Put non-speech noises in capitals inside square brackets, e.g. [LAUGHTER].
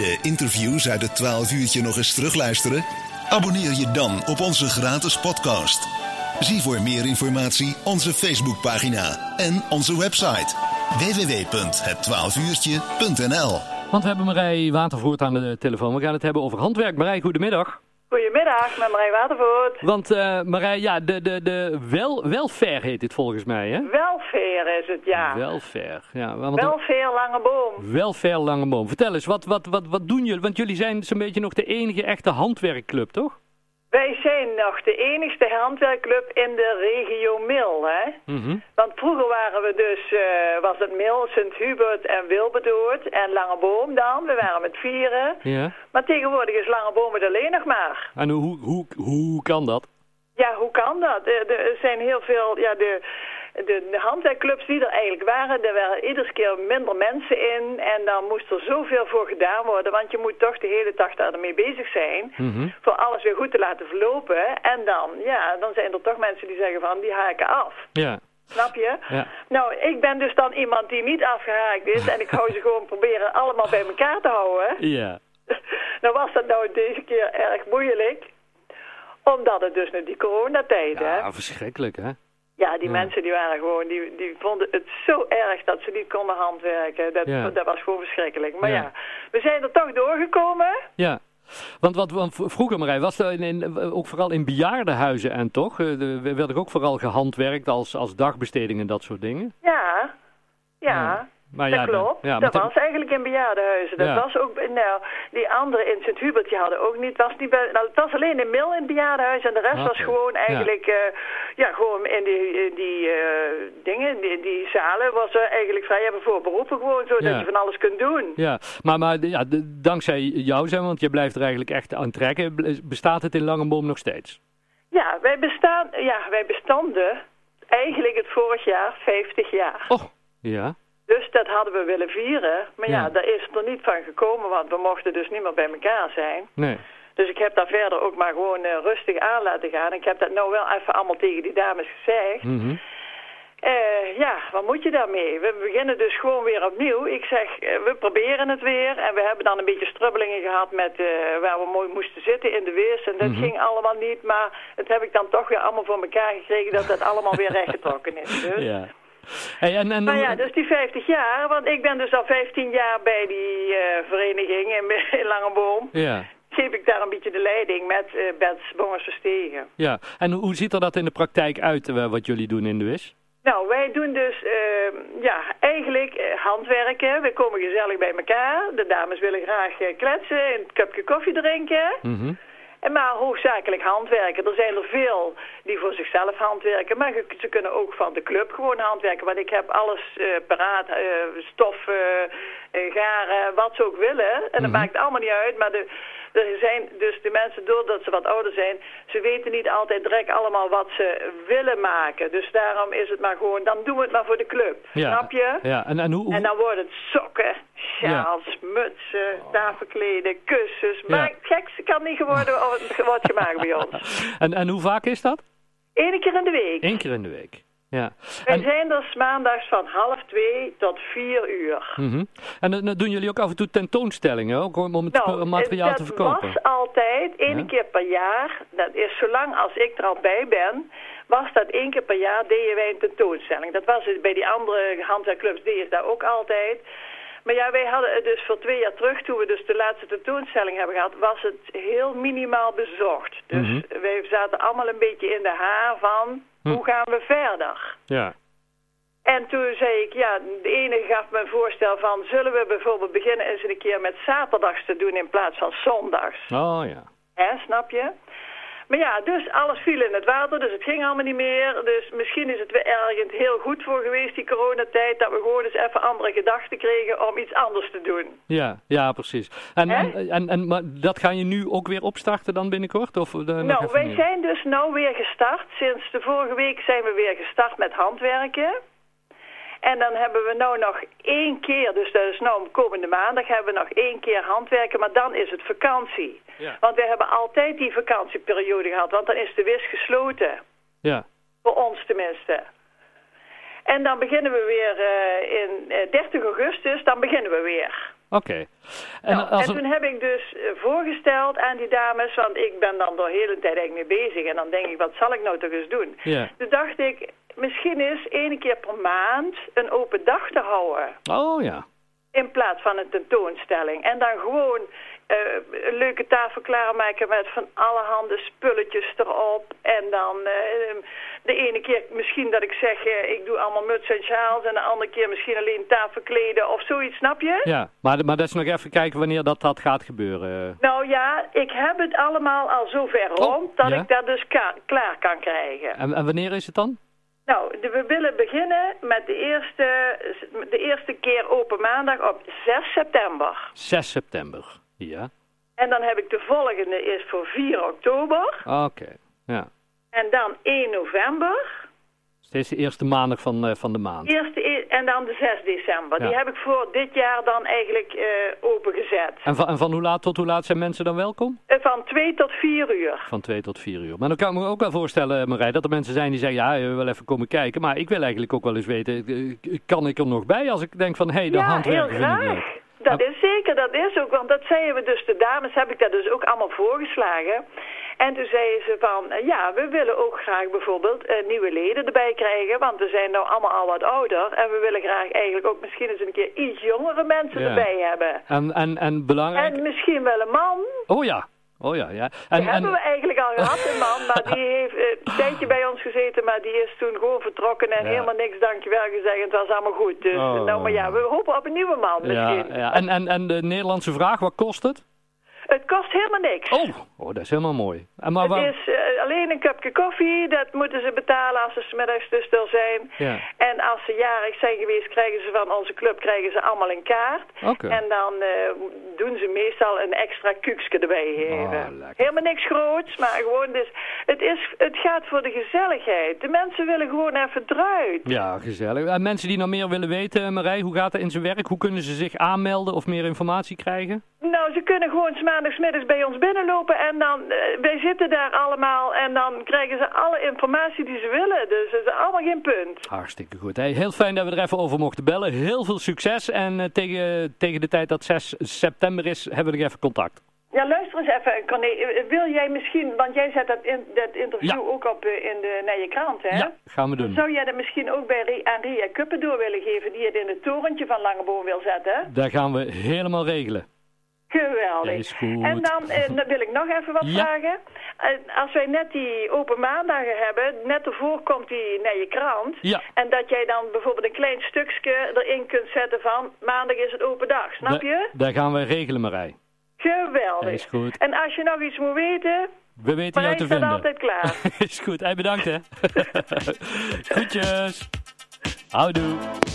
De interviews uit het 12 uurtje nog eens terugluisteren? Abonneer je dan op onze gratis podcast. Zie voor meer informatie onze Facebookpagina en onze website www.het12uurtje.nl. Want we hebben Marij Watervoort aan de telefoon. We gaan het hebben over handwerk. Marij, goedemiddag. Goedemiddag, met Marij Watervoort. Want eh Marij, ja, de, de, de wel, welfair heet dit volgens mij, hè? Welveer is het, ja. Welfair, ja. Want Welveer Lange Boom. welfair Lange Boom. Vertel eens, wat, wat, wat, wat doen jullie? Want jullie zijn zo'n beetje nog de enige echte handwerkclub, toch? Wij zijn nog de enigste handwerkclub in de regio Mil, hè. Want vroeger waren we dus, eh, was het Mil, Sint-Hubert en Wilbedoord en Lange Boom dan. We waren met vieren. Ja. Maar tegenwoordig is Lange Boom het alleen nog maar. En hoe, hoe, hoe kan dat? Ja, hoe kan dat? Eh, Er er zijn heel veel, ja, de, de, de handwerkclubs die er eigenlijk waren, er waren iedere keer minder mensen in en dan moest er zoveel voor gedaan worden, want je moet toch de hele dag daarmee bezig zijn voor alles weer goed te laten verlopen. En dan, ja, dan zijn er toch mensen die zeggen van, die haken af. Ja. Snap je? Ja. Nou, ik ben dus dan iemand die niet afgehaakt is en ik hou ze gewoon proberen allemaal bij elkaar te houden. Ja. Nou was dat nou deze keer erg moeilijk, omdat het dus nu die coronatijd, hè? Ja, verschrikkelijk, hè? Ja, die mensen die waren gewoon, die, die vonden het zo erg dat ze niet konden handwerken. Dat, Ja. dat was gewoon verschrikkelijk. Maar Ja. ja. we zijn er toch doorgekomen. Ja. Want wat want vroeger, Marij, was er in, in- ook vooral in bejaardenhuizen en toch? eh, de- werd er ook vooral gehandwerkt als, als dagbesteding en dat soort dingen? Ja, ja. Maar dat ja, dan- klopt. ja, maar dat dan- was eigenlijk in bejaardenhuizen. Dat Ja. was ook, nou, die andere in Sint-Hubert, die hadden ook niet, was niet bij, nou, het was alleen in Mil in het bejaardenhuis en de rest Oké. was gewoon Ah, Ja. eigenlijk, eh, ja, gewoon in die, in die eh, dingen, die, die zalen was er eigenlijk vrij hebben voor beroepen gewoon, zodat Ja. je van alles kunt doen. Ja, maar, maar de- ja, de- dankzij jou zijn, want je blijft er eigenlijk echt aan trekken, bl- bestaat het in Langeboom nog steeds? Ja, wij bestaan, ja, wij bestanden eigenlijk het vorig jaar 50 jaar. Oh, ja. Dus dat hadden we willen vieren. Maar ja, Ja. daar is het er niet van gekomen, want we mochten dus niet meer bij elkaar zijn. Nee. Dus ik heb daar verder ook maar gewoon eh, rustig aan laten gaan. Ik heb dat nou wel even allemaal tegen die dames gezegd. Mhm. Eh, ja, wat moet je daarmee? We beginnen dus gewoon weer opnieuw. Ik zeg, eh, we proberen het weer. En we hebben dan een beetje strubbelingen gehad met eh, waar we mooi moesten zitten in de weers. En dat ging allemaal niet. Maar het heb ik dan toch weer allemaal voor elkaar gekregen dat dat allemaal weer rechtgetrokken is. Dus. [LAUGHS] Ja. Hey, en, en, Nou ja, dus die 50 jaar. Want ik ben dus al 15 jaar bij die eh, vereniging in, [LAUGHS] in Langeboom. ja, Geef ik daar een beetje de leiding met eh Bets Bongers Verstegen. ja. en hoe ziet er dat in de praktijk uit, eh, wat jullie doen in de WIS? Nou, wij doen dus eh, ja, eigenlijk eh, handwerken. We komen gezellig bij elkaar. De dames willen graag eh, kletsen, een cupje koffie drinken. Mhm. En maar hoofdzakelijk handwerken. Er zijn er veel die voor zichzelf handwerken. Maar ge- ze kunnen ook van de club gewoon handwerken. Want ik heb alles eh, paraat. eh, stof, eh, eh, garen, wat ze ook willen. En dat maakt allemaal niet uit. Maar de, er zijn dus de mensen, doordat ze wat ouder zijn... ze weten niet altijd direct allemaal wat ze willen maken. Dus daarom is het maar gewoon... dan doen we het maar voor de club. Ja. Snap je? Ja, en, en hoe... hoe- En dan worden het sokken, sjaals, mutsen, tafelkleden, kussens. Ja. Maar het gekste kan niet geworden worden wordt gemaakt bij ons. en, en hoe vaak is dat? Eén keer in de week. Eén keer in de week. Ja. Wij En, zijn er 's maandags van half twee tot vier uur. mhm. en dan dan doen jullie ook af en toe tentoonstellingen, ook om om het sp- materiaal Nou, dat te verkopen? was altijd één Ja. keer per jaar. Dat is zolang als ik er al bij ben, was dat één keer per jaar deden wij een tentoonstelling. Dat was het bij die andere handwerkclubs, die is daar ook altijd. Maar ja, wij hadden het dus voor twee jaar terug, toen we dus de laatste tentoonstelling hebben gehad, was het heel minimaal bezocht. Dus Mhm. wij zaten allemaal een beetje in de haar van, Hm. hoe gaan we verder? Ja. En toen zei ik, ja, de ene gaf me een voorstel van... zullen we bijvoorbeeld beginnen eens een keer met zaterdags te doen in plaats van zondags? Oh ja. Hè, snap je? Maar ja, dus alles viel in het water, dus het ging allemaal niet meer. Dus misschien is het weer ergens heel goed voor geweest, die coronatijd... dat we gewoon eens even andere gedachten kregen om iets anders te doen. Ja, ja, precies. En, Hè? en, en, en- maar dat ga je nu ook weer opstarten dan binnenkort? Of, eh, nog nou, even wij niet? zijn dus nou weer gestart. Sinds de vorige week zijn we weer gestart met handwerken. En dan hebben we nou nog één keer, dus dat is nou komende maandag, hebben we nog één keer handwerken, maar dan is het vakantie. Ja. Want we hebben altijd die vakantieperiode gehad, want dan is de WIS gesloten. Ja, Voor ons tenminste. En dan beginnen we weer eh, in eh, 30 augustus, dan beginnen we weer. oké. Oké. En, Nou, als en er- toen heb ik dus eh, voorgesteld aan die dames, want ik ben dan de hele tijd eigenlijk mee bezig. En dan denk ik, wat zal ik nou toch eens doen? Ja. Toen dacht ik, misschien eens één keer per maand een open dag te houden. Oh ja. In plaats van een tentoonstelling. En dan gewoon eh, een leuke tafel klaarmaken met van allerhande spulletjes erop. En dan eh, de ene keer misschien dat ik zeg, eh, ik doe allemaal muts en sjaals. En de andere keer misschien alleen tafelkleden of zoiets, snap je? ja. Maar, maar dat is nog even kijken wanneer dat, dat gaat gebeuren. Nou ja, ik heb het allemaal al zover rond dat Oh, ja. ik dat dus ka- klaar kan krijgen. En, en wanneer is het dan? Nou, de- we willen beginnen met de eerste, de eerste keer open maandag op 6 september. 6 september. Ja. En dan heb ik de volgende is voor 4 oktober. Oké. Ja. En dan 1 november. Steeds de eerste maandag van, eh, van de maand. Eerste, e- en dan de 6 december. Ja. Die heb ik voor dit jaar dan eigenlijk eh, opengezet. En van, en van hoe laat tot hoe laat zijn mensen dan welkom? Eh, Van 2 tot 4 uur. Van 2 tot 4 uur. Maar dan kan ik me ook wel voorstellen, Marij, dat er mensen zijn die zeggen, ja, eh, wel even komen kijken. Maar ik wil eigenlijk ook wel eens weten, eh, kan ik er nog bij als ik denk van, hé, hey, de ja, heel handwerker vind ik graag. leuk. Dat is zeker, dat is ook. Want dat zeiden we dus, de dames heb ik dat dus ook allemaal voorgeslagen. En toen zeiden ze van, eh, ja, we willen ook graag bijvoorbeeld eh, nieuwe leden erbij krijgen. Want we zijn nou allemaal al wat ouder. En we willen graag eigenlijk ook misschien eens een keer iets jongere mensen Ja. erbij hebben. En, en, en belangrijk... En misschien wel een man. Oh ja, oh ja, ja. En, Die hebben we eigenlijk al gehad, een man. Maar die heeft eh, een tijdje bij ons gezeten. Maar die is toen gewoon vertrokken en Ja. helemaal niks dankjewel gezegd. Het was allemaal goed. Dus Oh. nou, maar ja, we hopen op een nieuwe man ja, misschien. ja. En, en, en de Nederlandse vraag, wat kost het? Het kost helemaal niks. Oh, oh dat is helemaal mooi. En maar waar- Het is eh, alleen een cupje koffie. Dat moeten ze betalen als ze smiddags dus er zijn. Ja. En als ze jarig zijn geweest, krijgen ze van onze club krijgen ze allemaal een kaart. Oké. En dan eh, doen ze meestal een extra kuksje erbij geven. Ah, lekker. Helemaal niks groots, maar gewoon dus... Het, is, het gaat voor de gezelligheid. De mensen willen gewoon even eruit. Ja, gezellig. En mensen die nog meer willen weten, Marij, hoe gaat dat in zijn werk? Hoe kunnen ze zich aanmelden of meer informatie krijgen? Nou, ze kunnen gewoon 's maandagsmiddags bij ons binnenlopen en dan, eh, wij zitten daar allemaal en dan krijgen ze alle informatie die ze willen. Dus het is allemaal geen punt. Hartstikke goed. Hey, heel fijn dat we er even over mochten bellen. Heel veel succes. En eh, tegen, tegen de tijd dat 6 september is, hebben we nog even contact. Ja, luister eens even, Corné. Eh, Wil jij misschien, want jij zet dat, in, dat interview Ja. ook op eh, in de Nije Krant, hè? Ja, gaan we doen. Zou jij dat misschien ook bij Ri- aan Ria Kuppen door willen geven, die het in het torentje van Langeboom wil zetten? Daar gaan we helemaal regelen. Geweldig. Is goed. En dan, eh, dan wil ik nog even wat Ja. vragen. Eh, als wij net die open maandagen hebben, net ervoor komt die Nije Krant. Ja. En dat jij dan bijvoorbeeld een klein stukje erin kunt zetten van maandag is het open dag, snap Da- je? Daar gaan we regelen, Marij. Geweldig. Is goed. En als je nog iets moet weten, We weten jou Marijn te staat vinden. [LAUGHS] altijd klaar. [LAUGHS] Is goed. Hey, bedankt hè. Groetjes. Houdoe.